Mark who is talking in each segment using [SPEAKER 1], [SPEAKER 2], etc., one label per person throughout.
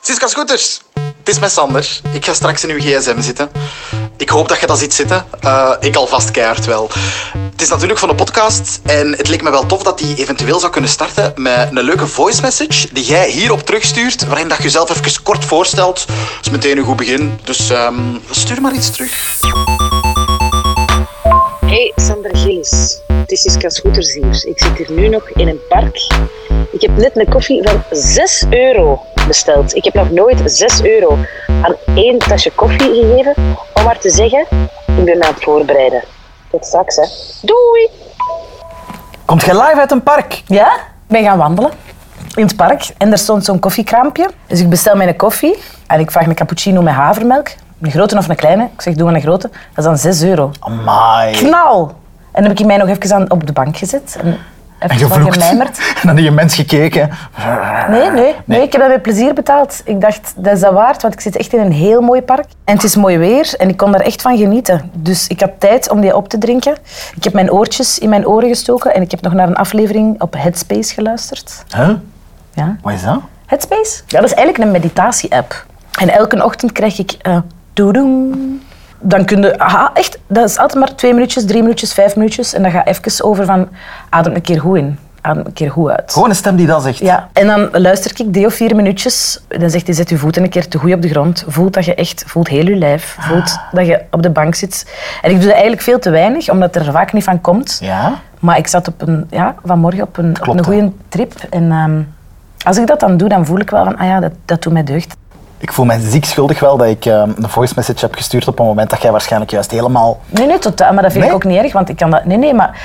[SPEAKER 1] Siska Scooters, het is met Sander. Ik ga straks in uw gsm zitten. Ik hoop dat je dat ziet zitten. Eh, ik alvast keihard wel. Het is natuurlijk van de podcast en het leek me wel tof dat die eventueel zou kunnen starten met een leuke voice message die jij hierop terugstuurt, waarin dat je jezelf even kort voorstelt. Dat is meteen een goed begin, dus ehm, stuur maar iets terug.
[SPEAKER 2] Hey, Sander Gillis. Het is Siska Scooters hier. Ik zit hier nu nog in een park. Ik heb net een koffie van 6 euro besteld. Ik heb nog nooit 6 euro aan één tasje koffie gegeven. Om maar te zeggen, ik ben me aan het voorbereiden. Tot straks, hè. Doei!
[SPEAKER 3] Komt je live uit een park?
[SPEAKER 4] Ja, ik ben gaan wandelen in het park en er stond zo'n koffiekraampje. Dus ik bestel mijn koffie en ik vraag een cappuccino met havermelk. Een grote of een kleine? Ik zeg, doe maar een grote. Dat is dan 6 euro.
[SPEAKER 3] Amai.
[SPEAKER 4] Knal! En dan heb ik mij nog even aan, op de bank gezet. En
[SPEAKER 3] En
[SPEAKER 4] eh, even wat
[SPEAKER 3] gevloekt.
[SPEAKER 4] gemijmerd.
[SPEAKER 3] En dan die mens gekeken.
[SPEAKER 4] Nee, Ah, nee, nee. ik heb dat met plezier betaald. Ik dacht, dat is dat waard, want ik zit echt in een heel mooi park. En het is mooi weer en ik kon daar echt van genieten. Dus ik had tijd om die op te drinken. Ik heb mijn oortjes in mijn oren gestoken en ik heb nog naar een aflevering op Headspace geluisterd.
[SPEAKER 3] Huh?
[SPEAKER 4] Ja.
[SPEAKER 3] Wat is dat?
[SPEAKER 4] Headspace? Ja, dat is eigenlijk een meditatie-app. En elke ochtend krijg ik eh doedoem. Dan kun je, aha, echt, dat is altijd maar twee minuutjes, drie minuutjes, vijf minuutjes. En dan ga even over van adem een keer goed in, adem een keer goed uit.
[SPEAKER 3] Gewoon een stem die dat zegt.
[SPEAKER 4] Ja, en dan luister ik drie of vier minuutjes. Dan zegt hij, zet je voeten een keer te goed op de grond. Voelt dat je echt, voelt heel je lijf.
[SPEAKER 3] Ah.
[SPEAKER 4] Voelt dat je op de bank zit. En ik doe dat eigenlijk veel te weinig, omdat er vaak niet van komt.
[SPEAKER 3] Ja?
[SPEAKER 4] Maar ik zat op een, ja, vanmorgen op een, op
[SPEAKER 3] Klopt,
[SPEAKER 4] een
[SPEAKER 3] hè?
[SPEAKER 4] goede trip. En ehm, als ik dat dan doe, dan voel ik wel van, ah ja, dat, dat doet mij deugd.
[SPEAKER 3] Ik voel mij ziek schuldig wel dat ik ehm, een voice message heb gestuurd op een moment dat jij waarschijnlijk juist helemaal...
[SPEAKER 4] Nee, nee, totaal. Maar dat vind
[SPEAKER 3] Nee?
[SPEAKER 4] ik ook niet erg, want ik kan dat... Nee, nee, maar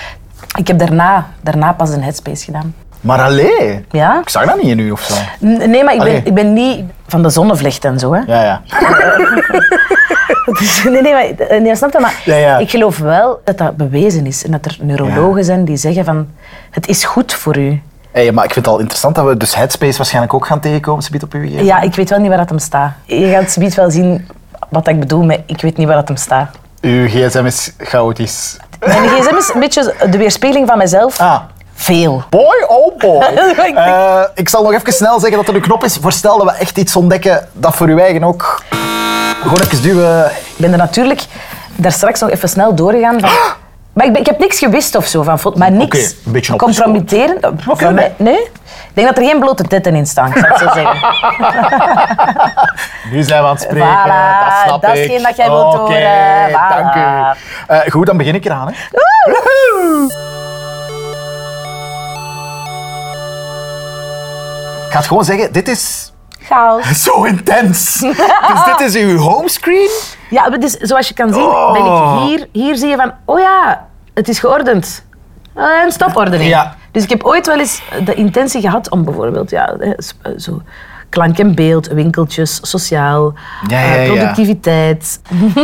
[SPEAKER 4] ik heb daarna, daarna pas een headspace gedaan.
[SPEAKER 3] Maar allee.
[SPEAKER 4] Ja?
[SPEAKER 3] Ik zag dat niet in u of zo.
[SPEAKER 4] N- Nee, maar ik
[SPEAKER 3] Allee.
[SPEAKER 4] ben, ik ben niet van de zonnevlecht en zo, hè.
[SPEAKER 3] Ja, ja.
[SPEAKER 4] Dus, nee, nee, maar, eh, nee, snap je? Maar
[SPEAKER 3] Ja, ja.
[SPEAKER 4] ik geloof wel dat dat bewezen is. En dat er neurologen zijn die zeggen van... Het is goed voor u.
[SPEAKER 3] Hey, maar ik vind het al interessant dat we dus Headspace waarschijnlijk ook gaan tegenkomen. Ze biedt op uw gegeven.
[SPEAKER 4] Ja, ik weet wel niet waar dat hem staat. Je gaat zoiets wel zien wat dat ik bedoel met ik weet niet waar dat hem staat.
[SPEAKER 3] Uw gsm is chaotisch.
[SPEAKER 4] Mijn gsm is een beetje de weerspiegeling van mezelf.
[SPEAKER 3] Ah.
[SPEAKER 4] Veel.
[SPEAKER 3] Boy, oh boy.
[SPEAKER 4] Ik denk-
[SPEAKER 3] Eh, ik zal nog even snel zeggen dat er een knop is voor stel dat we echt iets ontdekken dat voor uw eigen ook... Gewoon even duwen.
[SPEAKER 4] Ik ben er natuurlijk daar straks nog even snel doorgegaan van... Maar ik, ben- ik heb niks gewist of zo van foto, maar niks.
[SPEAKER 3] Ah! Oké, een beetje opgeschoten.
[SPEAKER 4] compromitterend.
[SPEAKER 3] Oké, nee.
[SPEAKER 4] Voor mij- nee. Ik denk dat er geen blote titten in staan, zou ik zo zeggen.
[SPEAKER 3] Nu zijn we aan het spreken,
[SPEAKER 4] Voilà,
[SPEAKER 3] dat snap
[SPEAKER 4] dat is
[SPEAKER 3] ik.
[SPEAKER 4] hetgeen dat jij wilt
[SPEAKER 3] Oké,
[SPEAKER 4] horen. Voilà.
[SPEAKER 3] dank u. Eh, goed, dan begin ik eraan. Hè. Woehoe. Ik ga het gewoon zeggen, dit is
[SPEAKER 4] Chaos.
[SPEAKER 3] zo intens. dus dit is uw homescreen?
[SPEAKER 4] Ja, maar dus, zoals je kan zien, ben
[SPEAKER 3] Oh.
[SPEAKER 4] ik hier. Hier zie je van, oh ja, het is geordend. Eh, Een stopordening.
[SPEAKER 3] Ja.
[SPEAKER 4] Dus ik heb ooit wel eens de intentie gehad om bijvoorbeeld, ja, eh, s- eh, zo, klank en beeld, winkeltjes, sociaal,
[SPEAKER 3] Ja, ja,
[SPEAKER 4] eh,
[SPEAKER 3] ja.
[SPEAKER 4] productiviteit.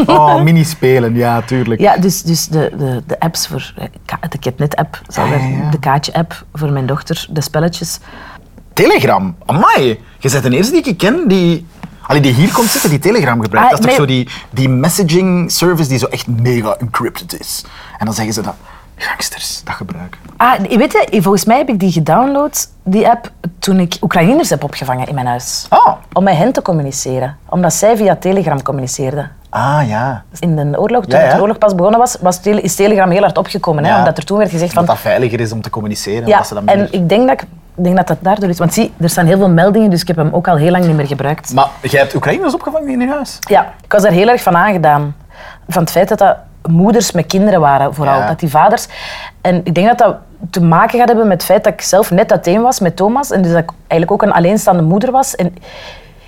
[SPEAKER 3] Oh, minispelen, ja, tuurlijk.
[SPEAKER 4] Ja, dus, dus de, de, de apps voor, eh, ka- de Catnet-app, zal
[SPEAKER 3] Ja, ja,
[SPEAKER 4] er-
[SPEAKER 3] ja.
[SPEAKER 4] de Kaatje-app voor mijn dochter, de spelletjes.
[SPEAKER 3] Telegram, amai. Je bent de eerste die ik ken die... Allee, die hier komt zitten, die Telegram gebruikt.
[SPEAKER 4] Ah,
[SPEAKER 3] dat is toch
[SPEAKER 4] nee.
[SPEAKER 3] zo die, die messaging service die zo echt mega encrypted is. En dan zeggen ze dat gangsters dat gebruiken.
[SPEAKER 4] Ah, weet je, volgens mij heb ik die gedownload, die app, toen ik Oekraïners heb opgevangen in mijn huis.
[SPEAKER 3] Ah,
[SPEAKER 4] om met hen te communiceren. Omdat zij via Telegram communiceerden.
[SPEAKER 3] ah ja.
[SPEAKER 4] In de oorlog, toen
[SPEAKER 3] Ja, ja.
[SPEAKER 4] de oorlog pas begonnen was, was tele- is Telegram heel hard opgekomen.
[SPEAKER 3] Ja.
[SPEAKER 4] Hè, omdat er toen werd gezegd van...
[SPEAKER 3] Dat dat veiliger is om te communiceren.
[SPEAKER 4] ja,
[SPEAKER 3] omdat ze dat
[SPEAKER 4] en
[SPEAKER 3] minder-
[SPEAKER 4] ik denk dat, ik ik denk dat dat daardoor is. Want zie, er staan heel veel meldingen, dus ik heb hem ook al heel lang niet meer gebruikt.
[SPEAKER 3] Maar jij hebt Oekraïners opgevangen in je huis?
[SPEAKER 4] Ja, ik was daar heel erg van aangedaan. Van het feit dat dat moeders met kinderen waren, vooral.
[SPEAKER 3] Ja.
[SPEAKER 4] Dat die vaders... En ik denk dat dat te maken gaat hebben met het feit dat ik zelf net uiteen was met Thomas. En dus dat ik eigenlijk ook een alleenstaande moeder was. En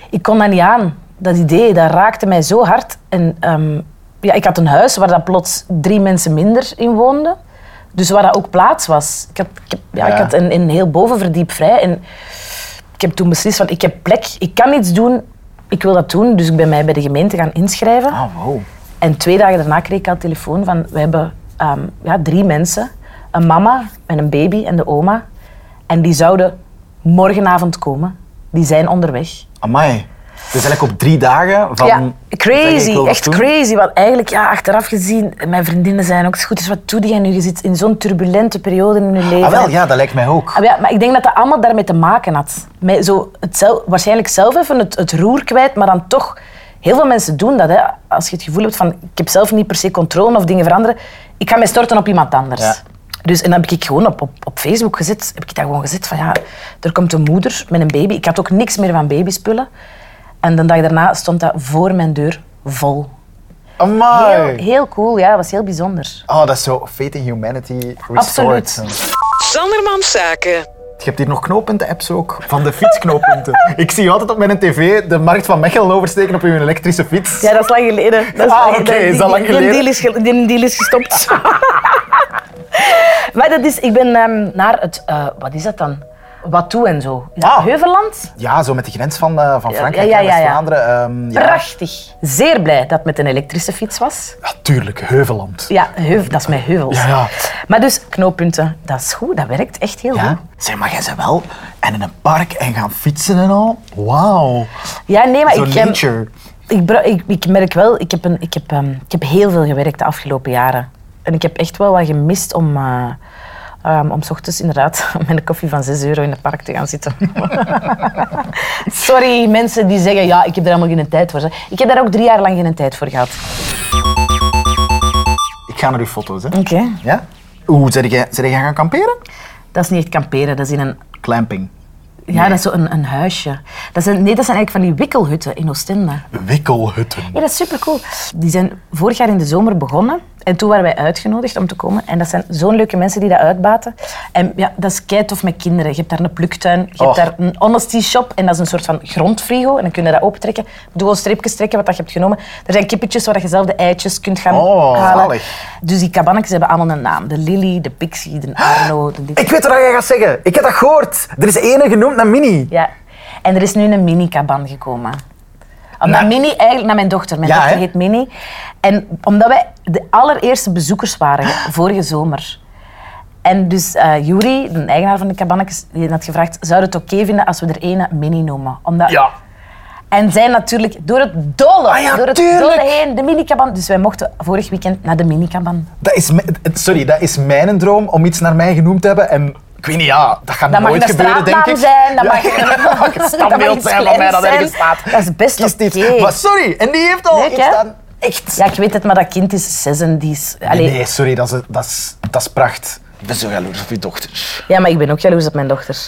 [SPEAKER 4] ik kon dat niet aan. Dat idee, dat raakte mij zo hard. En ehm, ja, ik had een huis waar dat plots drie mensen minder in woonden. Dus waar dat ook plaats was. Ik had, ik heb- ja,
[SPEAKER 3] Ja.
[SPEAKER 4] Ik had een, een heel bovenverdiep vrij. En ik heb toen beslist van ik heb plek, ik kan iets doen, ik wil dat doen. Dus ik ben mij bij de gemeente gaan inschrijven.
[SPEAKER 3] Ah, wow.
[SPEAKER 4] En twee dagen daarna kreeg ik al telefoon van we hebben ehm, ja, drie mensen, een mama en een baby en de oma. En die zouden morgenavond komen. Die zijn onderweg.
[SPEAKER 3] Amai. Dus eigenlijk op drie dagen van...
[SPEAKER 4] Ja,
[SPEAKER 3] zeg ik
[SPEAKER 4] crazy.
[SPEAKER 3] wil dat
[SPEAKER 4] Echt
[SPEAKER 3] doen.
[SPEAKER 4] crazy. Want eigenlijk, ja, achteraf gezien, mijn vriendinnen zijn ook goed. Dus wat doe je nu? Je zit in zo'n turbulente periode in je leven.
[SPEAKER 3] Ah wel, ja, dat lijkt mij ook.
[SPEAKER 4] Ah, ja, maar ik denk dat dat allemaal daarmee te maken had. Met zo het zel- waarschijnlijk zelf even het, het roer kwijt, maar dan toch... Heel veel mensen doen dat. Hè. Als je het gevoel hebt van, ik heb zelf niet per se controle of dingen veranderen, ik ga mij storten op iemand anders.
[SPEAKER 3] Ja.
[SPEAKER 4] Dus, en dan heb ik gewoon op, op, op Facebook gezet, heb ik daar gewoon gezet van, ja, er komt een moeder met een baby. Ik had ook niks meer van babyspullen. En de dag daarna stond dat voor mijn deur vol. Heel,
[SPEAKER 3] Amai.
[SPEAKER 4] heel cool, ja. Dat was heel bijzonder.
[SPEAKER 3] Oh, dat is zo Fate in Humanity restored.
[SPEAKER 4] Absoluut.
[SPEAKER 2] Sandermans Zaken.
[SPEAKER 3] Je hebt hier nog knooppunten-apps ook, van de fietsknooppunten. Ik zie je altijd op mijn tv de markt van Mechelen oversteken op je elektrische fiets.
[SPEAKER 4] Ja, dat is lang geleden. Dat is
[SPEAKER 3] Ah,
[SPEAKER 4] lang-
[SPEAKER 3] oké, is
[SPEAKER 4] die-
[SPEAKER 3] dat lang
[SPEAKER 4] die-
[SPEAKER 3] geleden?
[SPEAKER 4] Die deal is, ge- die deal is gestopt. maar dat is, ik ben ehm, naar het, eh, wat is dat dan? Wat toe en zo. Is dat
[SPEAKER 3] Ah.
[SPEAKER 4] Heuveland?
[SPEAKER 3] Ja, zo met de grens van, eh, van
[SPEAKER 4] Ja,
[SPEAKER 3] Frankrijk
[SPEAKER 4] ja, ja,
[SPEAKER 3] en
[SPEAKER 4] ja, ja.
[SPEAKER 3] West-Vlaanderen. ehm, ja.
[SPEAKER 4] Prachtig. Zeer blij dat het met een elektrische fiets was.
[SPEAKER 3] Ja, tuurlijk, Heuveland.
[SPEAKER 4] Ja, heuvel, dat is met heuvels.
[SPEAKER 3] Ja, ja.
[SPEAKER 4] Maar dus, knooppunten, dat is goed, dat werkt echt heel goed.
[SPEAKER 3] Ja? Zeg, maar jij ze wel en in een park en gaan fietsen en al? Wauw.
[SPEAKER 4] Ja, nee, maar
[SPEAKER 3] Zo
[SPEAKER 4] ik, ehm,
[SPEAKER 3] nature.
[SPEAKER 4] ik, bra- ik, ik merk wel, ik heb, een, ik, heb, ehm, ik heb heel veel gewerkt de afgelopen jaren. En ik heb echt wel wat gemist om, eh ehm, om 's ochtends inderdaad met een koffie van 6 euro in het park te gaan zitten. Sorry mensen die zeggen, ja, ik heb daar helemaal geen tijd voor. Ik heb daar ook drie jaar lang geen tijd voor gehad.
[SPEAKER 3] Ik ga naar uw foto's, hè.
[SPEAKER 4] Oké.
[SPEAKER 3] Ja? Oeh, zijn jij, zijn jij gaan kamperen?
[SPEAKER 4] Dat is niet echt kamperen, dat is in een...
[SPEAKER 3] Clamping.
[SPEAKER 4] Ja, dat is zo een, een huisje. Dat zijn, nee, dat zijn eigenlijk van die wikkelhutten in Oostende.
[SPEAKER 3] Wikkelhutten.
[SPEAKER 4] Ja, dat is supercool. Die zijn vorig jaar in de zomer begonnen. En toen waren wij uitgenodigd om te komen. En dat zijn zo'n leuke mensen die dat uitbaten. En ja, dat is keitof met kinderen. Je hebt daar een pluktuin, je
[SPEAKER 3] Och.
[SPEAKER 4] hebt daar een honesty shop. En dat is een soort van grondfrigo. En dan kun je dat opentrekken. Doe wel streepjes trekken wat dat je hebt genomen. Er zijn kippetjes waar je zelf de eitjes kunt gaan
[SPEAKER 3] Oh,
[SPEAKER 4] halen.
[SPEAKER 3] zalig.
[SPEAKER 4] Dus die kabannetjes hebben allemaal een naam. De Lily, de Pixie, de Arno, de dit.
[SPEAKER 3] Ik weet wat jij gaat zeggen. Ik heb dat gehoord. Er is ene genoemd naar Mini.
[SPEAKER 4] Ja. En er is nu een mini-kaban gekomen. Om- Naar Mini, eigenlijk naar mijn dochter. Mijn
[SPEAKER 3] Nou, Ja,
[SPEAKER 4] dochter
[SPEAKER 3] hè?
[SPEAKER 4] heet Mini. En omdat wij de allereerste bezoekers waren ge- vorige zomer. En dus eh Juri, de eigenaar van de kabannetjes, die had gevraagd... Zou je het oké vinden als we er ene Mini noemen? Omdat... En zij natuurlijk door het dolle,
[SPEAKER 3] Ah ja,
[SPEAKER 4] door het
[SPEAKER 3] tuurlijk.
[SPEAKER 4] dolle heen, de minikaban. Dus wij mochten vorig weekend naar de minikaban.
[SPEAKER 3] Dat is, mijn- sorry, dat is mijn droom om iets naar mij genoemd te hebben. En ik weet niet, ja, dat gaat
[SPEAKER 4] Dat mag
[SPEAKER 3] nooit
[SPEAKER 4] een
[SPEAKER 3] gebeuren, denk ik.
[SPEAKER 4] straatnaam zijn, dat
[SPEAKER 3] Ja,
[SPEAKER 4] mag,
[SPEAKER 3] dat mag een
[SPEAKER 4] dat
[SPEAKER 3] standbeeld
[SPEAKER 4] mag iets
[SPEAKER 3] zijn van mij dat
[SPEAKER 4] kleins
[SPEAKER 3] ergens
[SPEAKER 4] zijn.
[SPEAKER 3] staat.
[SPEAKER 4] Dat is best
[SPEAKER 3] Kies dit.
[SPEAKER 4] oké.
[SPEAKER 3] Maar sorry, en die heeft al
[SPEAKER 4] Leuk,
[SPEAKER 3] iets
[SPEAKER 4] hè?
[SPEAKER 3] staan. Echt.
[SPEAKER 4] Ja, ik weet het, maar dat kind is zes en die is...
[SPEAKER 3] Nee,
[SPEAKER 4] allee,
[SPEAKER 3] nee, sorry, dat is, dat, is, dat is pracht. Ik ben zo jaloers op je dochter.
[SPEAKER 4] Ja, maar ik ben ook jaloers op mijn dochter.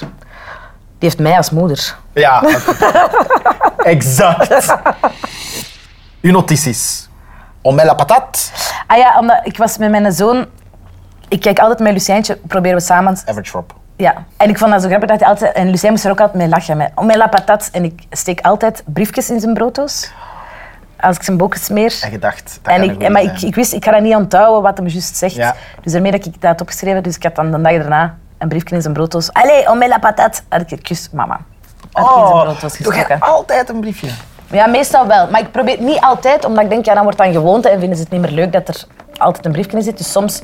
[SPEAKER 4] Die heeft mij als moeder.
[SPEAKER 3] Ja, exact. Uw notities. Omel la patat.
[SPEAKER 4] Ah ja, omdat ik was met mijn zoon... Ik kijk altijd met Lucientje, proberen we samen...
[SPEAKER 3] Average Rob.
[SPEAKER 4] Ja. En ik vond dat zo grappig dat hij altijd... En Lucien moest er ook altijd mee lachen. Met, met la patat. En ik steek altijd briefjes in zijn brooddoos. Als ik zijn bokken smeer.
[SPEAKER 3] En gedacht. Dat
[SPEAKER 4] En
[SPEAKER 3] kan
[SPEAKER 4] ik,
[SPEAKER 3] een goeie
[SPEAKER 4] en maar
[SPEAKER 3] zijn.
[SPEAKER 4] ik, ik wist, ik ga dat niet onthouden wat hem juist zegt.
[SPEAKER 3] Ja.
[SPEAKER 4] Dus daarmee dat ik dat had opgeschreven. Dus ik had dan de dag daarna een briefje in zijn brooddoos. Allee, om la patat. Had ik gekust, mama. Had ik in zijn brooddoos
[SPEAKER 3] doe jij
[SPEAKER 4] gestoken.
[SPEAKER 3] Oh, altijd een briefje.
[SPEAKER 4] Ja, meestal wel. Maar ik probeer het niet altijd, omdat ik denk, ja, dan wordt dat een gewoonte en vinden ze het niet meer leuk dat er altijd een briefje in zit. Dus soms...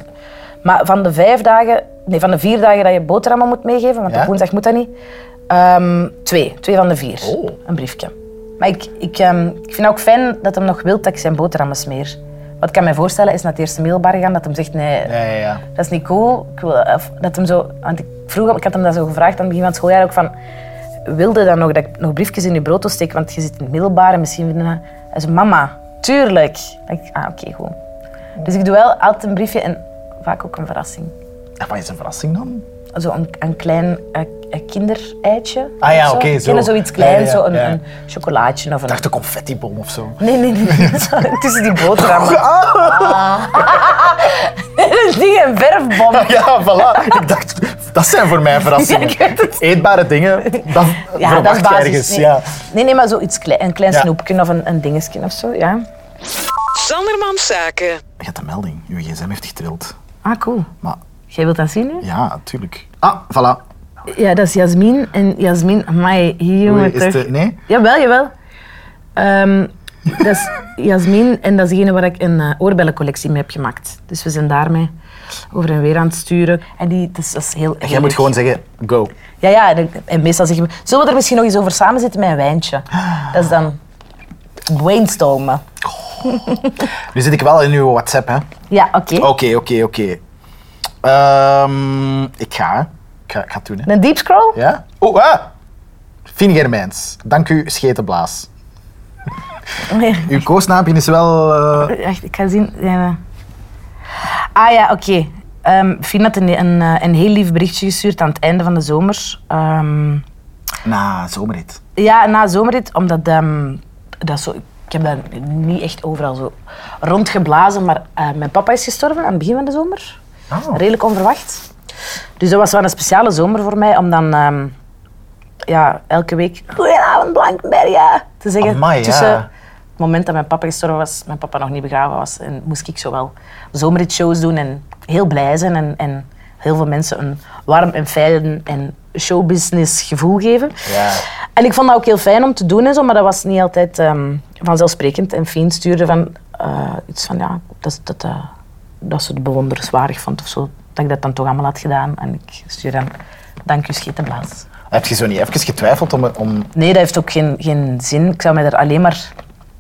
[SPEAKER 4] Maar van de vijf dagen... Nee, van de vier dagen dat je boterhammen moet meegeven, want
[SPEAKER 3] Ja?
[SPEAKER 4] op woensdag moet dat niet. ehm, twee. Twee van de vier.
[SPEAKER 3] Oh.
[SPEAKER 4] Een briefje. Maar ik, ik, ehm, ik vind het ook fijn dat hem nog wil dat ik zijn boterhammen smeer. Wat ik kan me voorstellen is naar het eerste middelbaar gaan, dat hem zegt, nee,
[SPEAKER 3] Ja, ja, ja.
[SPEAKER 4] dat is niet cool. Ik wil, of dat hem zo, want ik, vroeg, hem- ik had hem dat zo gevraagd aan het begin van het schooljaar ook van... Wilde dan nog dat ik nog briefjes in je brood steek? Want je zit in het middelbaar en misschien vinden dat... Hij zei, mama, tuurlijk. Dan denk ik, ah, oké, goed. Dus ik doe wel altijd een briefje en vaak ook een verrassing.
[SPEAKER 3] En wat is een verrassing dan?
[SPEAKER 4] Zo een, een klein eh, eh, kindereitje.
[SPEAKER 3] Ah ja,
[SPEAKER 4] of
[SPEAKER 3] oké,
[SPEAKER 4] Ik
[SPEAKER 3] zo.
[SPEAKER 4] ken je zoiets kleins,
[SPEAKER 3] Ja, ja,
[SPEAKER 4] zo een,
[SPEAKER 3] ja.
[SPEAKER 4] een chocolaatje of een...
[SPEAKER 3] Ik dacht een confettibom of zo.
[SPEAKER 4] Nee, nee, nee. Tussen die boterhammen.
[SPEAKER 3] Oh.
[SPEAKER 4] Dat is niet een verfbom.
[SPEAKER 3] Ja, voilà. Ik dacht, dat zijn voor mij verrassingen.
[SPEAKER 4] Ja, ik weet het.
[SPEAKER 3] Eetbare dingen, dat
[SPEAKER 4] Ja, dat is
[SPEAKER 3] verwacht je
[SPEAKER 4] basis.
[SPEAKER 3] ergens.
[SPEAKER 4] nee.
[SPEAKER 3] Ja.
[SPEAKER 4] nee, nee, maar zoiets klein. Een klein
[SPEAKER 3] Ja.
[SPEAKER 4] snoepje of een, een dingetje of zo, ja.
[SPEAKER 2] Sandermans Zaken.
[SPEAKER 3] Je hebt een melding. Uw gsm heeft getrild.
[SPEAKER 4] Ah, cool.
[SPEAKER 3] Maar
[SPEAKER 4] Jij wilt dat zien nu?
[SPEAKER 3] ja, natuurlijk. Ah, voilà.
[SPEAKER 4] Ja, dat is Jasmin. En Jasmin, amai, hier
[SPEAKER 3] Oei,
[SPEAKER 4] jongen,
[SPEAKER 3] is
[SPEAKER 4] terug.
[SPEAKER 3] de, nee?
[SPEAKER 4] Jawel, jawel. Ehm, dat is Jasmin, en dat is degene waar ik een eh, oorbellencollectie mee heb gemaakt. Dus we zijn daarmee over en weer aan het sturen. En die, dus, dat is heel
[SPEAKER 3] En jij moet gewoon zeggen, go.
[SPEAKER 4] Ja, ja, en, en meestal zeggen we... Zullen we er misschien nog eens over samen zitten met een wijntje? Dat is dan brainstormen.
[SPEAKER 3] Nu zit ik wel in uw WhatsApp, hè.
[SPEAKER 4] Ja, oké.
[SPEAKER 3] Oké, oké, oké. Ehm, Ik ga, hè. Ik ga, ik ga het doen, hè.
[SPEAKER 4] Een deep scroll?
[SPEAKER 3] Ja? Oeh, ah! Fien Germijns, dank u, schetenblaas.
[SPEAKER 4] Nee.
[SPEAKER 3] Uw koosnaampje is wel... eh,
[SPEAKER 4] Echt, ik ga zien. Ja, ja. Ah ja, oké. Ehm Fien had een, een, eh, een heel lief berichtje gestuurd aan het einde van de zomer. Ehm,
[SPEAKER 3] na zomerrit.
[SPEAKER 4] ja, na zomerrit, omdat ehm, dat zo, ik heb dat niet echt overal zo rondgeblazen, maar eh, mijn papa is gestorven aan het begin van de zomer.
[SPEAKER 3] Oh.
[SPEAKER 4] Redelijk onverwacht. Dus dat was wel een speciale zomer voor mij, om dan ehm, ja, elke week Goedenavond Blankenbergen te zeggen.
[SPEAKER 3] Amai, ja.
[SPEAKER 4] tussen het moment dat mijn papa gestorven was, mijn papa nog niet begraven was, en moest ik zo wel zomerritshows doen en heel blij zijn en, en heel veel mensen een warm en fijn en showbusiness gevoel geven.
[SPEAKER 3] Ja.
[SPEAKER 4] En ik vond dat ook heel fijn om te doen en zo, maar dat was niet altijd ehm, vanzelfsprekend. En Fien stuurde van eh, iets van ja, dat, dat, eh, dat ze het bewonderenswaardig vond of zo, dat ik dat dan toch allemaal had gedaan. En ik stuurde dan, dank u Schetenblaas.
[SPEAKER 3] Heb je zo niet even getwijfeld om... om...
[SPEAKER 4] Nee, dat heeft ook geen, geen zin. Ik zou mij daar alleen maar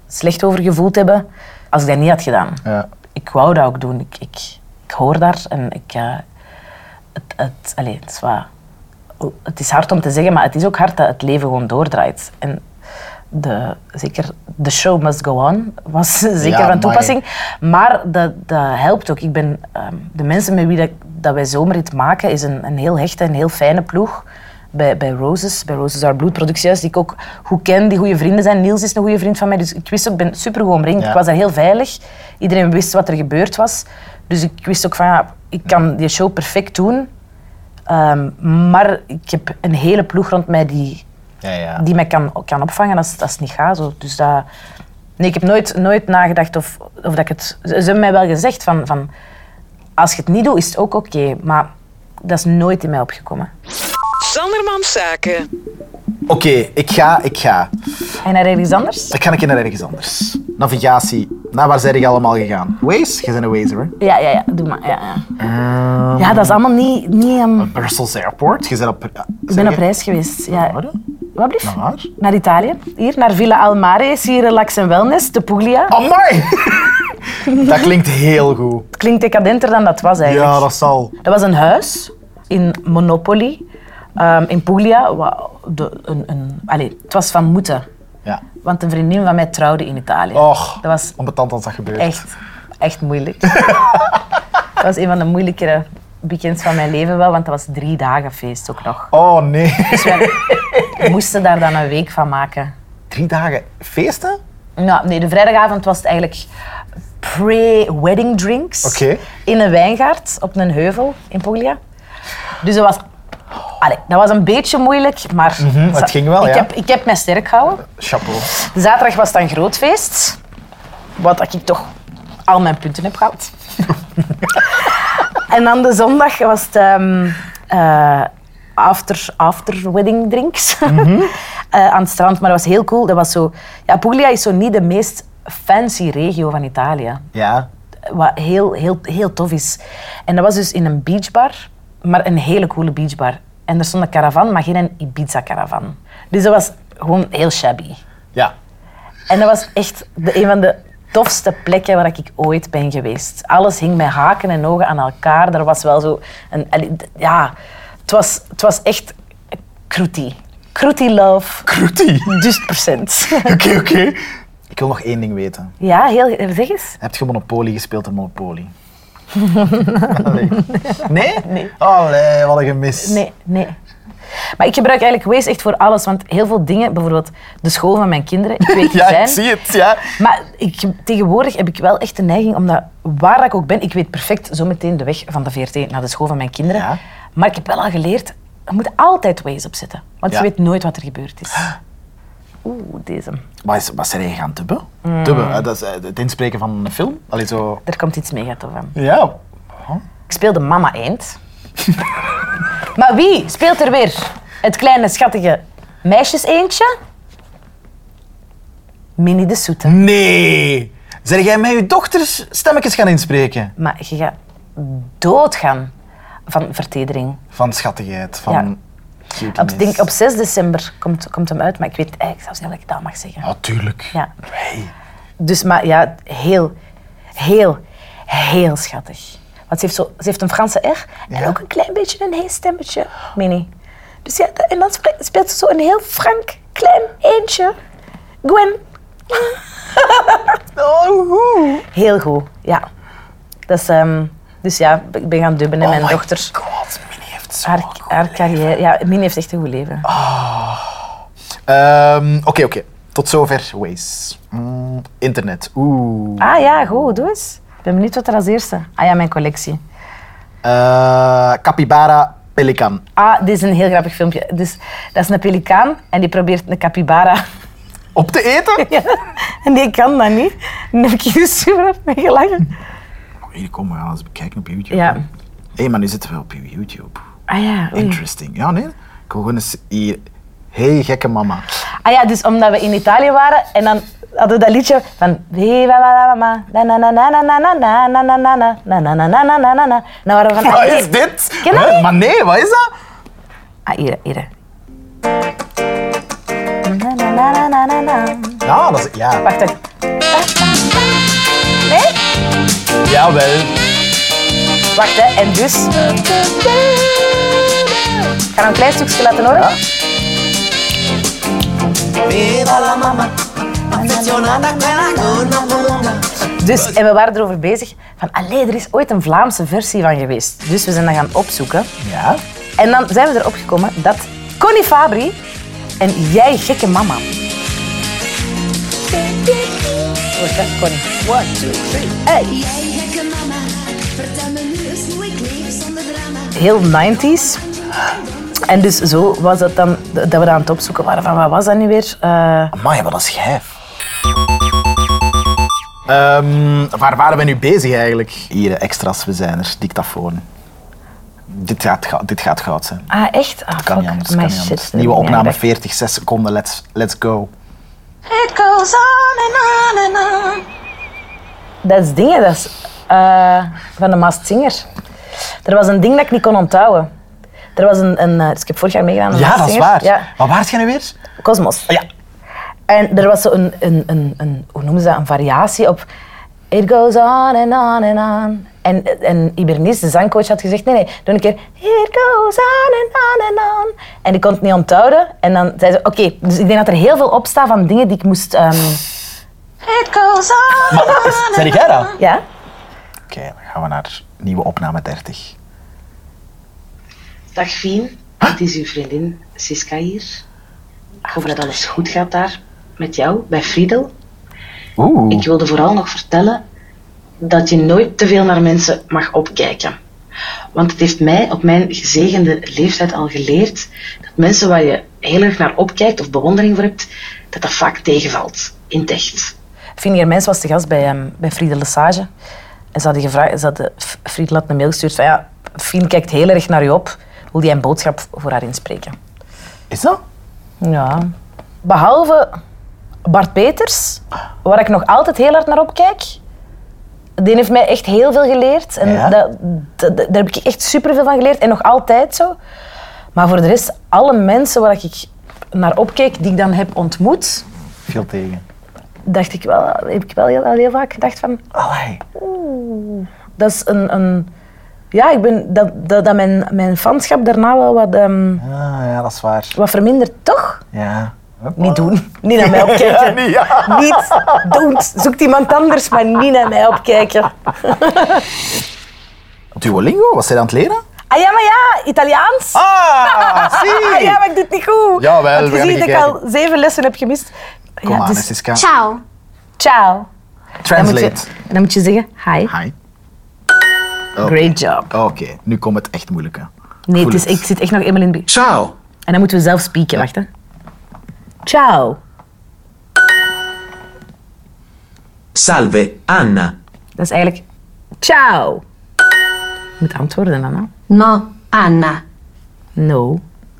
[SPEAKER 4] slecht over gevoeld hebben als ik dat niet had gedaan.
[SPEAKER 3] Ja.
[SPEAKER 4] Ik wou dat ook doen. Ik, ik, ik hoor daar en ik... eh, het, het, allee, het, is wat, het is hard om te zeggen, maar het is ook hard dat het leven gewoon doordraait. En de, zeker de show must go on was zeker
[SPEAKER 3] Ja,
[SPEAKER 4] van
[SPEAKER 3] amai.
[SPEAKER 4] toepassing. Maar dat, dat helpt ook. Ik ben, ehm, de mensen met wie dat, dat wij Zomerrit maken, is een, een heel hechte en heel fijne ploeg. Bij, bij Roses, bij Roses Are Blood productiehuis, die ik ook goed ken, die goede vrienden zijn. Niels is een goede vriend van mij, dus ik wist ook, ik ben super goed omringd.
[SPEAKER 3] Ja.
[SPEAKER 4] Ik was daar heel veilig. Iedereen wist wat er gebeurd was. Dus ik wist ook van, ja, ik kan die show perfect doen. Ehm, maar ik heb een hele ploeg rond mij die
[SPEAKER 3] Ja, ja.
[SPEAKER 4] die mij kan, kan opvangen als, als het niet gaat. Zo. Dus dat, nee, ik heb nooit, nooit nagedacht of, of dat ik het... Ze ze hebben mij wel gezegd van, van... Als je het niet doet, is het ook oké. maar dat is nooit in mij opgekomen.
[SPEAKER 5] Sandermans Zaken.
[SPEAKER 3] Oké, ik ga, ik ga.
[SPEAKER 4] En naar ergens anders?
[SPEAKER 3] Ik ga een keer naar ergens anders. Navigatie. Naar waar zijn je allemaal gegaan? Waze? Jij bent een Wazer, hè?
[SPEAKER 4] Ja, ja, ja. Doe maar. Ja, ja.
[SPEAKER 3] Ehm,
[SPEAKER 4] ja dat is allemaal niet... niet ehm,
[SPEAKER 3] Brussels Airport. Je bent op...
[SPEAKER 4] ik ben op reis geweest. Ja.
[SPEAKER 3] Waar?
[SPEAKER 4] Wat blieft?
[SPEAKER 3] Naar waar?
[SPEAKER 4] Naar Italië. Hier, naar Villa Almare. Is hier Relax en Wellness, de Puglia.
[SPEAKER 3] Amai! dat klinkt heel goed.
[SPEAKER 4] Het klinkt decadenter dan dat was eigenlijk.
[SPEAKER 3] Ja, dat zal.
[SPEAKER 4] Dat was een huis in Monopoly, ehm, in Puglia. wa- de- een, een, allee, het was van moeten,
[SPEAKER 3] Ja.
[SPEAKER 4] want een vriendin van mij trouwde in Italië.
[SPEAKER 3] Och,
[SPEAKER 4] dat was
[SPEAKER 3] Onbetand als dat gebeurt.
[SPEAKER 4] echt, echt moeilijk. dat was een van de moeilijkere weekends van mijn leven wel, want dat was drie dagen feest ook nog.
[SPEAKER 3] Oh nee.
[SPEAKER 4] We moesten daar dan een week van maken.
[SPEAKER 3] Drie dagen feesten?
[SPEAKER 4] Nou, nee, de vrijdagavond was het eigenlijk pre-wedding drinks.
[SPEAKER 3] Oké.
[SPEAKER 4] In een wijngaard op een heuvel in Puglia. Dus dat was, allee, dat was een beetje moeilijk, maar
[SPEAKER 3] Mhm, het ging wel,
[SPEAKER 4] ik,
[SPEAKER 3] ja.
[SPEAKER 4] heb, ik heb mij sterk gehouden.
[SPEAKER 3] Chapeau.
[SPEAKER 4] De zaterdag was dan groot feest, wat dat ik toch al mijn punten heb gehaald. en dan de zondag was het ehm, eh, after, after wedding drinks Eh, aan het strand. Maar dat was heel cool. Dat was zo, ja, Puglia is zo niet de meest fancy regio van Italië
[SPEAKER 3] Ja.
[SPEAKER 4] wat heel, heel, heel tof is. En dat was dus in een beachbar, maar een hele coole beachbar. En er stond een caravan, maar geen een Ibiza-caravan. Dus dat was gewoon heel shabby.
[SPEAKER 3] Ja.
[SPEAKER 4] En dat was echt de, een van de tofste plekken waar ik ooit ben geweest. Alles hing met haken en ogen aan elkaar. Er was wel zo een... allee, d- Ja, het was, het was echt croûty. Croûty love.
[SPEAKER 3] Cruti.
[SPEAKER 4] Dus procent.
[SPEAKER 3] Oké, oké. Ik wil nog één ding weten.
[SPEAKER 4] Ja, heel... Zeg eens.
[SPEAKER 3] Heb je Monopoly gespeeld in Monopoly? Allee. Nee? Nee. Allee, wat een gemis.
[SPEAKER 4] Nee, nee. Maar ik gebruik eigenlijk Waze echt voor alles, want heel veel dingen, bijvoorbeeld de school van mijn kinderen, ik weet
[SPEAKER 3] Ja,
[SPEAKER 4] zijn.
[SPEAKER 3] ik zie het, ja.
[SPEAKER 4] Maar ik, tegenwoordig heb ik wel echt de neiging, omdat waar ik ook ben, ik weet perfect zometeen de weg van de VRT naar de school van mijn kinderen.
[SPEAKER 3] Ja.
[SPEAKER 4] Maar ik heb wel al geleerd, je moet altijd Waze opzetten, want
[SPEAKER 3] Ja.
[SPEAKER 4] je weet nooit wat er gebeurd is. Oeh, deze.
[SPEAKER 3] Wat, is, wat zijn jij gaan dubben?
[SPEAKER 4] Mm.
[SPEAKER 3] Dubben, eh, dat is eh, het inspreken van een film. Allee, zo...
[SPEAKER 4] Daar komt iets mega tof aan.
[SPEAKER 3] Ja.
[SPEAKER 4] Ik speelde Mama Eend. maar wie speelt er weer? Het kleine, schattige meisjes eendje? Mini de Soete.
[SPEAKER 3] Nee. Zijn jij met je dochters stemmetjes gaan inspreken?
[SPEAKER 4] Maar je gaat doodgaan van vertedering.
[SPEAKER 3] Van schattigheid, van
[SPEAKER 4] Ja.
[SPEAKER 3] cuteness.
[SPEAKER 4] Op, ik denk, op 6 december komt, komt hem uit, maar ik weet eigenlijk zelfs niet of ik dat mag zeggen.
[SPEAKER 3] Ja, tuurlijk.
[SPEAKER 4] Ja.
[SPEAKER 3] Hey.
[SPEAKER 4] Dus, maar ja, heel, heel, heel schattig. Want ze heeft, zo, ze heeft een Franse R en
[SPEAKER 3] Ja.
[SPEAKER 4] ook een klein beetje een heestemmetje, mini. Dus ja, dat- en dan spre- speelt ze zo een heel frank, klein eentje. Gwen.
[SPEAKER 3] Oh, hoe?
[SPEAKER 4] Heel goed, ja. Dat is, ehm, dus ja, ik ben gaan dubben en mijn
[SPEAKER 3] Oh my
[SPEAKER 4] dochter...
[SPEAKER 3] God, Minnie heeft zo
[SPEAKER 4] Haar, haar carrière... Ja, Min heeft echt een goed leven.
[SPEAKER 3] Ehm, Oké, oké. Tot zover Waze. Mm, internet. Oeh.
[SPEAKER 4] Ah ja, goed, doe eens. Ik ben benieuwd wat er als eerste... Ah ja, mijn collectie.
[SPEAKER 3] Eh, capybara pelikan.
[SPEAKER 4] Ah, dit is een heel grappig filmpje. Dus, dat is een pelikaan en die probeert een capybara...
[SPEAKER 3] Op te eten?
[SPEAKER 4] Ja, en die kan dat niet. En dan heb ik hier super hard mee gelachen.
[SPEAKER 3] Oh, Hier komen we gaan eens bekijken op YouTube.
[SPEAKER 4] Ja.
[SPEAKER 3] hè. Hé, maar nu zitten we op YouTube.
[SPEAKER 4] Ah ja, oei.
[SPEAKER 3] Interesting. Ja, nee. Ik wil gewoon eens hier... hey, gekke mama.
[SPEAKER 4] Ah ja, dus omdat we in Italië waren en dan hadden we dat liedje van Viva la mama, na na na na na na na na na na na na na na na na na na na Dan waren we van...
[SPEAKER 3] Wat
[SPEAKER 4] ah, nee.
[SPEAKER 3] is dit?
[SPEAKER 4] Ken je dat
[SPEAKER 3] Hè?
[SPEAKER 4] niet?
[SPEAKER 3] Maar nee, wat is dat?
[SPEAKER 4] Ah, hier, hier. Na na na na na na.
[SPEAKER 3] Ja, dat is... Ja,
[SPEAKER 4] Wacht even. Nee?
[SPEAKER 3] jawel.
[SPEAKER 4] Wacht, hè. En dus... Ik ga een klein stukje laten horen.
[SPEAKER 6] Viva la mamá, aficionada que la gorda funda.
[SPEAKER 4] Dus, en we waren erover bezig van, allee, er is ooit een Vlaamse versie van geweest. Dus we zijn dat gaan opzoeken.
[SPEAKER 3] Ja.
[SPEAKER 4] En dan zijn we erop gekomen dat Connie Fabri en Jij Gekke Mama. Wordt dat, Connie? One, two, three, hey.
[SPEAKER 7] Jij gekke mama, vertel me nu eens hoe ik leef zonder drama.
[SPEAKER 4] Heel 90s. En dus zo was dat dan, dat we dat aan het opzoeken waren van, wat was dat nu weer? Eh,
[SPEAKER 3] Amai, wat een schijf. Ehm, waar waren we nu bezig eigenlijk? Hier, eh, extra's, we zijn er. Dictafoon. Dit gaat, ga- dit gaat goud zijn.
[SPEAKER 4] ah, echt? Ah,
[SPEAKER 3] Kan
[SPEAKER 4] fuck,
[SPEAKER 3] niet anders,
[SPEAKER 4] my
[SPEAKER 3] kan niet
[SPEAKER 4] shit.
[SPEAKER 3] anders.
[SPEAKER 4] dat
[SPEAKER 3] Nieuwe
[SPEAKER 4] heb ik niet
[SPEAKER 3] opname,
[SPEAKER 4] aangedacht.
[SPEAKER 3] 40, 6 seconden, let's, let's go.
[SPEAKER 6] It goes on and on and on.
[SPEAKER 4] Dat is dingen, dat is eh, van de Masked Singer. Er was een ding dat ik niet kon onthouden. Er was een, een eh, dus ik heb vorig jaar meegedaan aan de
[SPEAKER 3] Ja,
[SPEAKER 4] Masked
[SPEAKER 3] dat is
[SPEAKER 4] Singer.
[SPEAKER 3] waar.
[SPEAKER 4] Ja,
[SPEAKER 3] Maar waar is jij nu weer?
[SPEAKER 4] Cosmos.
[SPEAKER 3] Ja.
[SPEAKER 4] En er was zo een, een, een, een hoe noemen ze dat, een variatie op It goes on and on and on. En, en Ibernice, de zangcoach, had gezegd, nee, nee, doe een keer It goes on and on and on. En ik kon het niet onthouden. En dan zei ze, oké, dus ik denk dat er heel veel op staat van dingen die ik moest... ehm,
[SPEAKER 6] It goes on and on.
[SPEAKER 3] Maar, zeg jij dat? Oké,
[SPEAKER 4] ja?
[SPEAKER 3] dan gaan we naar nieuwe opname 30.
[SPEAKER 2] Dag Fien, het is uw vriendin Siska hier. Ik hoop dat alles goed gaat daar met jou, bij Friedel.
[SPEAKER 3] Oeh.
[SPEAKER 2] Ik wilde vooral nog vertellen dat je nooit te veel naar mensen mag opkijken. Want het heeft mij op mijn gezegende leeftijd al geleerd dat mensen waar je heel erg naar opkijkt of bewondering voor hebt, dat dat vaak tegenvalt in het echt.
[SPEAKER 4] Fien Germijns was te gast bij, ehm bij Friede Lesage. En ze hadden gevraagd, ze hadden, F- Friede had een mail gestuurd van ja, Fien kijkt heel erg naar je op. Wil jij een boodschap voor haar inspreken?
[SPEAKER 3] Is dat?
[SPEAKER 4] Ja. Behalve Bart Peters, waar ik nog altijd heel hard naar opkijk. Die heeft mij echt heel veel geleerd. En
[SPEAKER 3] Ja?
[SPEAKER 4] dat, dat- dat- daar heb ik echt superveel van geleerd. En nog altijd zo. Maar voor de rest, alle mensen waar ik naar opkeek, die ik dan heb ontmoet,
[SPEAKER 3] Veel tegen.
[SPEAKER 4] dacht ik wel, heb ik wel heel, heel vaak gedacht van...
[SPEAKER 3] Allee.
[SPEAKER 4] dat is een, een ja, ik ben, dat, dat, dat mijn, mijn fanschap daarna wel wat, ehm,
[SPEAKER 3] Ah, ja, dat is waar.
[SPEAKER 4] wat vermindert, toch?
[SPEAKER 3] Ja.
[SPEAKER 4] Niet doen. Niet naar mij opkijken.
[SPEAKER 3] niet, ja.
[SPEAKER 4] Niet doen. Zoekt iemand anders, maar niet naar mij opkijken.
[SPEAKER 3] Duolingo, was zij aan het leren?
[SPEAKER 4] Ah ja, maar ja, Italiaans.
[SPEAKER 3] Ah, zie!
[SPEAKER 4] Ah ja, maar ik doe het niet goed.
[SPEAKER 3] Jawel, we
[SPEAKER 4] Want je
[SPEAKER 3] gaan
[SPEAKER 4] ziet
[SPEAKER 3] even
[SPEAKER 4] dat ik al zeven lessen heb gemist.
[SPEAKER 3] Kom
[SPEAKER 4] ja,
[SPEAKER 3] aan,
[SPEAKER 4] dus-
[SPEAKER 3] Siska.
[SPEAKER 7] Ciao.
[SPEAKER 4] ciao. Dan moet, je,
[SPEAKER 3] Translate.
[SPEAKER 4] dan moet je zeggen, hi,
[SPEAKER 3] Hi.
[SPEAKER 4] great job.
[SPEAKER 3] Oké, nu komt het echt moeilijke.
[SPEAKER 4] Nee,
[SPEAKER 3] Voel
[SPEAKER 4] het is,
[SPEAKER 3] het.
[SPEAKER 4] ik zit echt nog eenmaal in de...
[SPEAKER 1] Ciao.
[SPEAKER 4] En dan moeten we zelf spieken, wacht hè. Ciao.
[SPEAKER 8] Salve, Anna.
[SPEAKER 4] Dat is eigenlijk ciao. Je moet antwoorden, Anna.
[SPEAKER 9] No, Anna.
[SPEAKER 4] No,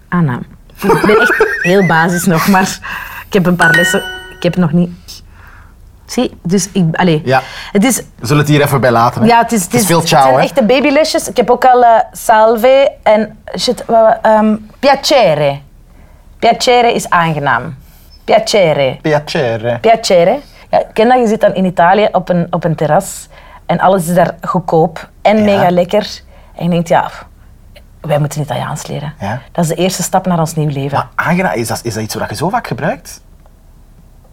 [SPEAKER 4] Anna. Ik ben echt heel basis nog, maar ik heb een paar lessen. Ik heb het nog niet. Zie, dus ik... Allee.
[SPEAKER 3] Ja.
[SPEAKER 4] Het is...
[SPEAKER 3] We zullen het hier even bij laten. hè.
[SPEAKER 4] Ja, het is, het is,
[SPEAKER 3] veel
[SPEAKER 4] het zijn
[SPEAKER 3] ciao, hè.
[SPEAKER 4] echte babylesjes. Ik heb ook al eh, salve en shit, wa- ehm, piacere. Piacere is aangenaam. Piacere.
[SPEAKER 3] Piacere.
[SPEAKER 4] Piacere. Ja, ik ken dat, je zit dan in Italië op een, op een terras en alles is daar goedkoop en mega lekker. En je denkt, ja, pff, wij moeten Italiaans leren.
[SPEAKER 3] Ja.
[SPEAKER 4] Dat is de eerste stap naar ons nieuw leven.
[SPEAKER 3] Maar aangenaam, Ah, is dat, is dat iets wat je zo vaak gebruikt?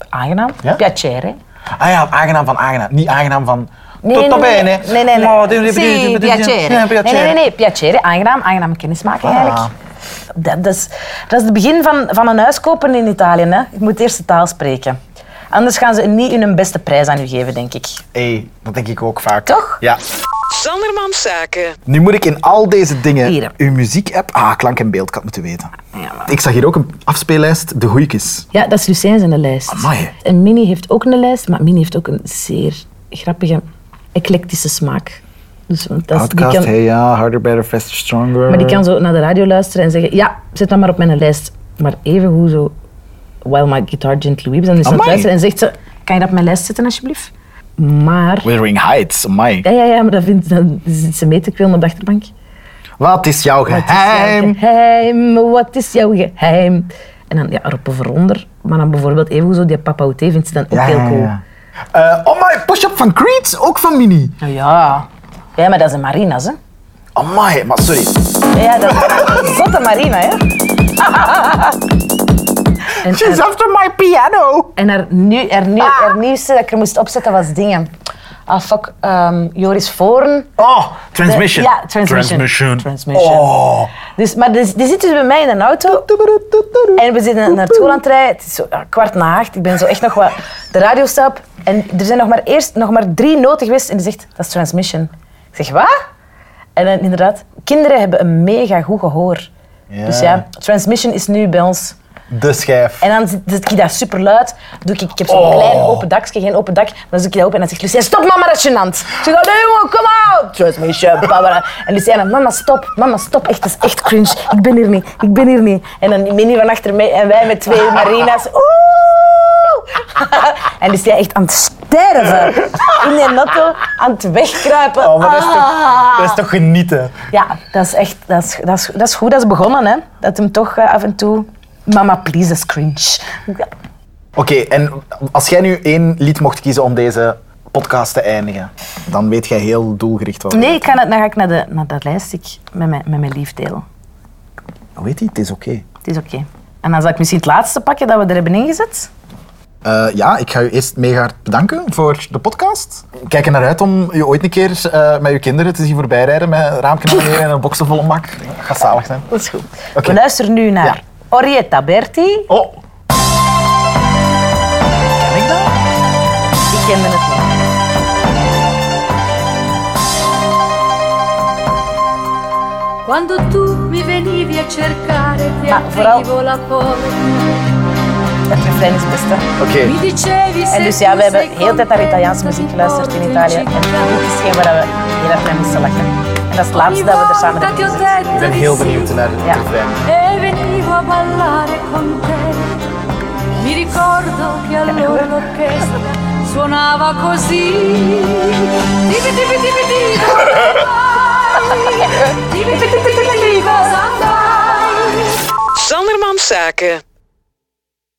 [SPEAKER 4] Aangenaam.
[SPEAKER 3] Ja?
[SPEAKER 4] Piacere.
[SPEAKER 3] Ah ja, aangenaam van aangenaam. Niet aangenaam van...
[SPEAKER 4] Nee,
[SPEAKER 3] tot
[SPEAKER 4] nee,
[SPEAKER 3] tot
[SPEAKER 4] nee,
[SPEAKER 3] bene.
[SPEAKER 4] nee, nee, nee.
[SPEAKER 3] Oh, dit- dit- dit-
[SPEAKER 4] Sì,
[SPEAKER 3] dit- dit- dit-
[SPEAKER 4] piacere.
[SPEAKER 3] Ja,
[SPEAKER 4] Nee,
[SPEAKER 3] Eh, piacere.
[SPEAKER 4] nee, nee, nee, piacere, aangenaam, aangenaam kennismaking
[SPEAKER 3] Ah.
[SPEAKER 4] eigenlijk. Dat, dat, is, dat is het begin van, van een huis kopen in Italië. Hè. Je moet eerst de taal spreken. Anders gaan ze niet hun beste prijs aan u geven, denk ik.
[SPEAKER 3] Hey, dat denk ik ook vaak.
[SPEAKER 4] Toch?
[SPEAKER 3] Ja.
[SPEAKER 5] Sanderman Zaken.
[SPEAKER 3] Nu moet ik in al deze dingen
[SPEAKER 4] Hier.
[SPEAKER 3] uw muziek-app... Ah, klank en beeld, ik had het moeten weten. Ik zag hier ook een afspeellijst, de goeikes.
[SPEAKER 4] Ja, dat is Lucijns in de lijst.
[SPEAKER 3] Amai.
[SPEAKER 4] En Minnie heeft ook een lijst, maar Minnie heeft ook een zeer grappige, eclectische smaak. Dus want dat is- die
[SPEAKER 3] Outcast,
[SPEAKER 4] kan-
[SPEAKER 3] hey ja, harder, better, faster, stronger.
[SPEAKER 4] Maar die kan zo naar de radio luisteren en zeggen: Ja, zet dat maar op mijn lijst. Maar even hoe zo. While my guitar gently weeps. En is ze aan het
[SPEAKER 3] Amai.
[SPEAKER 4] luisteren en zegt ze: Kan je dat op mijn lijst zetten, alsjeblieft? Maar.
[SPEAKER 3] Wuthering Heights, amai.
[SPEAKER 4] Ja, ja, ja, maar dat vindt dan zit ze mee te kwillen op de achterbank.
[SPEAKER 3] Wat is jouw
[SPEAKER 4] Wat
[SPEAKER 3] geheim?
[SPEAKER 4] is jouw geheim? Wat is jouw geheim? En dan ja, erop veronder. Maar dan bijvoorbeeld even hoe zo die Papa Oute vindt ze dan ook
[SPEAKER 3] Ja,
[SPEAKER 4] heel
[SPEAKER 3] ja,
[SPEAKER 4] cool.
[SPEAKER 3] ja. Eh, oh my, push-up van Creed, ook van Mini.
[SPEAKER 4] Nou ja. Ja, maar dat is een Marina's, hè?
[SPEAKER 3] Oh my, maar sorry.
[SPEAKER 4] Ja, dat is zotte Marina, hè? En- en-
[SPEAKER 3] She's after my piano.
[SPEAKER 4] En haar, nu, haar, nu, haar nieuwste dat ik er moest opzetten was dingen. Ah, fuck. ehm, Joris Voorn.
[SPEAKER 3] Oh, transmission. Oh.
[SPEAKER 4] Ja, Transmission. Transmission. Dus, maar dus- die zit dus bij mij in een auto. En we zitten naar school aan het rijden. Het is zo, ja, kwart na acht. Ik ben zo echt nog wat de radio stap. En er zijn nog maar, eerst, nog maar drie noten geweest. En die zegt, dat is Transmission. Ik zeg, wat? En dan inderdaad, kinderen hebben een mega goed gehoor.
[SPEAKER 3] Ja.
[SPEAKER 4] Dus ja, Transmission is nu bij ons...
[SPEAKER 3] De schijf.
[SPEAKER 4] En dan zit- zit ik daar super luid. Doe ik, ik heb zo'n
[SPEAKER 3] Oh.
[SPEAKER 4] klein open dakje, geen open dak. Maar dan zoek ik dat op en dan zegt Lucien, stop mama, dat is gênant. Ik zeg, nee jongen, kom out. Transmission, babara. En Lucien, mama stop, mama stop. Echt, dat is echt cringe. Ik ben hier niet, ik ben hier niet. En dan Minnie van achter mij en wij met twee marina's. Oeh. en Lucien echt aan het sterven. In de auto, aan het wegkruipen.
[SPEAKER 3] Oh, maar dat is toch,
[SPEAKER 4] Ah.
[SPEAKER 3] dat is toch genieten.
[SPEAKER 4] Ja, dat is echt, dat is, dat is, dat is goed dat is begonnen, hè. Dat hem toch eh, af en toe... Mama, please, dat is cringe.
[SPEAKER 3] Oké, en als jij nu één lied mocht kiezen om deze podcast te eindigen, dan weet jij heel doelgericht wat.
[SPEAKER 4] Nee, ik ga, na- dan ga ik naar, de, naar dat lijstje met mijn, met mijn liefdeel.
[SPEAKER 3] Oh, Weet je, het is oké.
[SPEAKER 4] Het is oké. En dan zal ik misschien het laatste pakken dat we er hebben ingezet.
[SPEAKER 3] Eh, ja, ik ga u eerst mega hard bedanken voor de podcast. Ik kijk er naar uit om je ooit een keer eh, met je kinderen te zien voorbijrijden met een raampje naar beneden en een boksen vol mak. Dat gaat zalig zijn.
[SPEAKER 4] Dat is goed.
[SPEAKER 3] Oké.
[SPEAKER 4] We luisteren nu naar
[SPEAKER 3] Ja.
[SPEAKER 4] Orietta Berti.
[SPEAKER 3] Oh! Ken ik dat?
[SPEAKER 4] Ik kende het niet.
[SPEAKER 9] Quando tu mi venivi a cercare ti
[SPEAKER 4] Ma Ah, però-
[SPEAKER 9] aprivo la porta
[SPEAKER 4] Het refrein is het beste.
[SPEAKER 3] Oké.
[SPEAKER 9] Mi dicevi se
[SPEAKER 4] En dus
[SPEAKER 9] tu
[SPEAKER 4] ja, we hebben
[SPEAKER 9] sei
[SPEAKER 4] heel de tijd naar Italiaanse muziek geluisterd in Italië. En dit is geen waar we heel erg mee moesten lachen. En dat is het laatste dat we er samen hebben
[SPEAKER 9] Ik
[SPEAKER 4] ingezet.
[SPEAKER 3] Ik ben heel benieuwd naar het
[SPEAKER 4] Ja.
[SPEAKER 3] refrein.
[SPEAKER 9] E venivo a ballare con te Mi ricordo
[SPEAKER 4] Eh,
[SPEAKER 9] che allora l'orchestra suonava così Tipi tipi tipi tipi dove vai? Tipi tipi tipi tipi cosa andai
[SPEAKER 5] Sanderman Zaken.